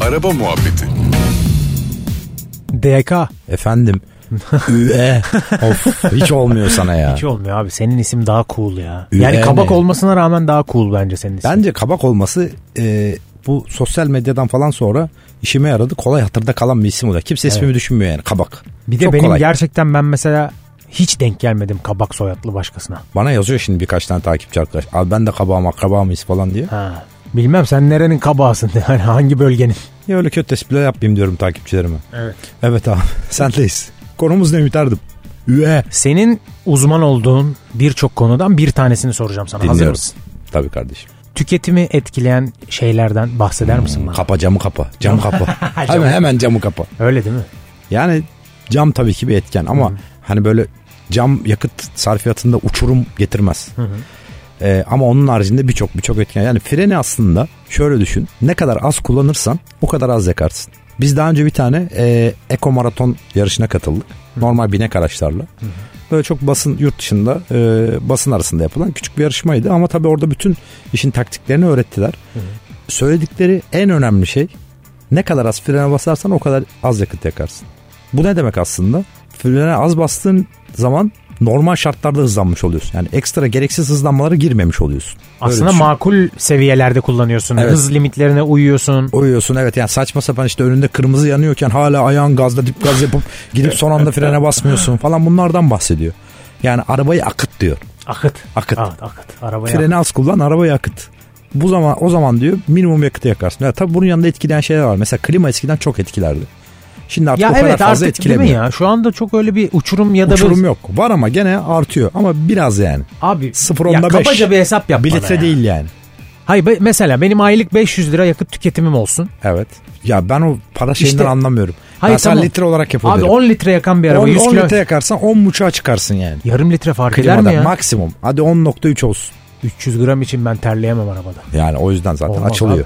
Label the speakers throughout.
Speaker 1: Araba muhabbeti.
Speaker 2: DK.
Speaker 3: Efendim. Üe. of hiç olmuyor sana ya.
Speaker 2: Hiç şey olmuyor abi. Senin isim daha cool ya.
Speaker 3: Üye
Speaker 2: Yani kabak
Speaker 3: mi?
Speaker 2: olmasına rağmen daha cool bence senin isim.
Speaker 3: Bence kabak olması e, bu sosyal medyadan falan sonra işime yaradı. Kolay hatırda kalan bir isim oluyor. Kimse ismimi düşünmüyor yani kabak.
Speaker 2: bir de
Speaker 3: Çok
Speaker 2: benim
Speaker 3: kolay.
Speaker 2: gerçekten ben mesela hiç denk gelmedim kabak soyadlı başkasına.
Speaker 3: Bana yazıyor şimdi birkaç tane takipçi arkadaş. Abi ben de kabağım akraba mıyız falan diye.
Speaker 2: Ha. Bilmem sen nerenin kabağısın yani hangi bölgenin.
Speaker 3: Ya öyle kötü espriler yapmayayım diyorum takipçilerime.
Speaker 2: Evet.
Speaker 3: Evet abi sendeyiz. Konumuz ne Ümitar'dım? Üe.
Speaker 2: Senin uzman olduğun birçok konudan bir tanesini soracağım sana. Hazır
Speaker 3: Dinliyorum.
Speaker 2: mısın?
Speaker 3: Tabii kardeşim.
Speaker 2: Tüketimi etkileyen şeylerden bahseder misin bana?
Speaker 3: Kapa camı kapa. Cam kapa. hemen hemen camı kapa.
Speaker 2: Öyle değil mi?
Speaker 3: Yani cam tabii ki bir etken ama hani böyle cam yakıt sarfiyatında uçurum getirmez. Ee, ama onun haricinde birçok birçok etken. Yani freni aslında şöyle düşün. Ne kadar az kullanırsan o kadar az yakarsın. Biz daha önce bir tane e, eko maraton yarışına katıldık. Normal binek araçlarla. Böyle çok basın yurt dışında e, basın arasında yapılan küçük bir yarışmaydı. Ama tabii orada bütün işin taktiklerini öğrettiler. Söyledikleri en önemli şey ne kadar az frene basarsan o kadar az yakıt yakarsın. Bu ne demek aslında? Frene az bastığın zaman normal şartlarda hızlanmış oluyorsun. Yani ekstra gereksiz hızlanmalara girmemiş oluyorsun. Böyle
Speaker 2: Aslında
Speaker 3: düşün.
Speaker 2: makul seviyelerde kullanıyorsun.
Speaker 3: Evet.
Speaker 2: Hız limitlerine uyuyorsun.
Speaker 3: Uyuyorsun evet yani saçma sapan işte önünde kırmızı yanıyorken hala ayağın gazda dip gaz yapıp gidip son anda frene basmıyorsun falan bunlardan bahsediyor. Yani arabayı akıt diyor.
Speaker 2: Akıt.
Speaker 3: Akıt.
Speaker 2: Evet, akıt. Arabaya.
Speaker 3: Freni az kullan arabayı yakıt. Bu zaman o zaman diyor minimum yakıtı yakarsın. Ya tabii bunun yanında etkileyen şeyler var. Mesela klima eskiden çok etkilerdi. Şimdi artık
Speaker 2: Ya
Speaker 3: o kadar
Speaker 2: evet
Speaker 3: fazla
Speaker 2: artık değil mi
Speaker 3: etkilemiyor.
Speaker 2: ya? Şu anda çok öyle bir uçurum ya da
Speaker 3: Uçurum
Speaker 2: bir...
Speaker 3: yok. Var ama gene artıyor ama biraz yani.
Speaker 2: Abi
Speaker 3: Sıfır
Speaker 2: ya
Speaker 3: onda beş.
Speaker 2: kabaca bir hesap yap
Speaker 3: Bir
Speaker 2: bana
Speaker 3: litre
Speaker 2: ya.
Speaker 3: değil yani.
Speaker 2: Hayır be- mesela benim aylık 500 lira yakıt tüketimim olsun.
Speaker 3: Evet. Ya ben o para şeyinden
Speaker 2: İşte-
Speaker 3: anlamıyorum.
Speaker 2: Hayır,
Speaker 3: ben sen
Speaker 2: tamam.
Speaker 3: litre olarak yapıyorum.
Speaker 2: Abi 10 litre yakan bir araba 100 kilo.
Speaker 3: litre yakarsan 10 buçuğa çıkarsın yani.
Speaker 2: Yarım litre fark eder
Speaker 3: Klimada
Speaker 2: mi ya?
Speaker 3: maksimum. Hadi 10.3 olsun.
Speaker 2: 300 gram için ben terleyemem arabada.
Speaker 3: Yani o yüzden zaten
Speaker 2: Olmaz
Speaker 3: açılıyor.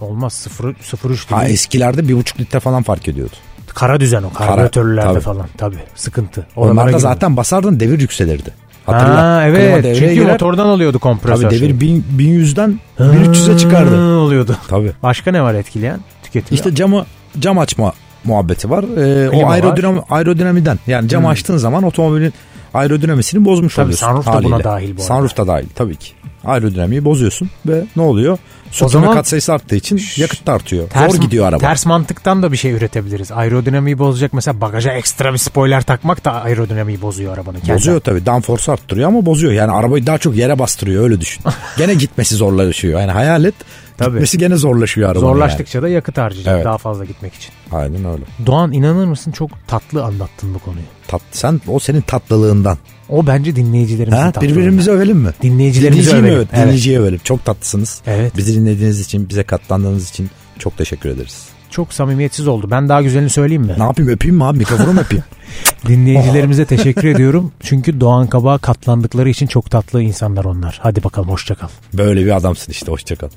Speaker 2: Olmaz 0 0 3
Speaker 3: Ha eskilerde 1.5 litre falan fark ediyordu.
Speaker 2: Kara düzen o karbüratörlerde
Speaker 3: tabii.
Speaker 2: falan tabii sıkıntı. Oralara
Speaker 3: Onlarda
Speaker 2: girme.
Speaker 3: zaten basardın devir yükselirdi. Hatırla.
Speaker 2: Ha,
Speaker 3: Klima
Speaker 2: evet
Speaker 3: devreye
Speaker 2: çünkü
Speaker 3: girer.
Speaker 2: motordan alıyordu kompresör.
Speaker 3: Tabii
Speaker 2: şeyi.
Speaker 3: devir 1000 1100'den
Speaker 2: Ha,
Speaker 3: 1300'e çıkardı.
Speaker 2: oluyordu.
Speaker 3: Tabii.
Speaker 2: Başka ne var etkileyen? Tüketim.
Speaker 3: İşte camı cam açma muhabbeti var. Ee,
Speaker 2: Klima
Speaker 3: o
Speaker 2: var. Hmm.
Speaker 3: aerodinam aerodinamiden yani cam açtığın zaman otomobilin aerodinamisini bozmuş
Speaker 2: Tabii
Speaker 3: oluyorsun.
Speaker 2: sunroof da
Speaker 3: haliyle.
Speaker 2: buna dahil bu arada.
Speaker 3: Sunroof da dahil tabii ki. Aerodinamiyi bozuyorsun ve ne oluyor? Sütun
Speaker 2: zaman-
Speaker 3: ve katsayısı arttığı için yakıt da artıyor. Zor gidiyor araba.
Speaker 2: Ters mantıktan da bir şey üretebiliriz. Aerodinamiği bozacak mesela bagaja ekstra bir spoiler takmak da aerodinamiği bozuyor arabanın. kendi.
Speaker 3: Bozuyor tabii. Downforce arttırıyor ama bozuyor. Yani arabayı daha çok yere bastırıyor öyle düşün. gene gitmesi zorlaşıyor. Yani hayal et.
Speaker 2: Tabii.
Speaker 3: Gitmesi gene zorlaşıyor arabanın.
Speaker 2: Zorlaştıkça da yakıt harcayacak
Speaker 3: Evet.
Speaker 2: daha fazla gitmek için.
Speaker 3: yani. Aynen öyle.
Speaker 2: Doğan inanır mısın çok tatlı anlattın bu konuyu.
Speaker 3: Tat, sen o senin tatlılığından.
Speaker 2: O bence dinleyicilerimizin
Speaker 3: Ha,
Speaker 2: tatlılığından.
Speaker 3: birbirimizi övelim mi?
Speaker 2: Dinleyicilerimizi
Speaker 3: Dinleyiciyi mi
Speaker 2: övelim.
Speaker 3: övelim?
Speaker 2: Evet.
Speaker 3: Dinleyiciyi övelim. Çok tatlısınız.
Speaker 2: Evet.
Speaker 3: Bizi dinlediğiniz için, bize katlandığınız için çok teşekkür ederiz.
Speaker 2: Çok samimiyetsiz oldu. Ben daha güzelini söyleyeyim mi?
Speaker 3: Ne yapayım öpeyim mi abi? Mikrofonu mu öpeyim?
Speaker 2: Dinleyicilerimize teşekkür ediyorum. Çünkü Doğan Kabak'a katlandıkları için çok tatlı insanlar onlar. Hadi bakalım hoşçakal.
Speaker 3: Böyle bir adamsın işte. Hoşçakal.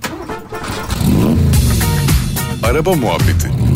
Speaker 1: Araba muhabbeti.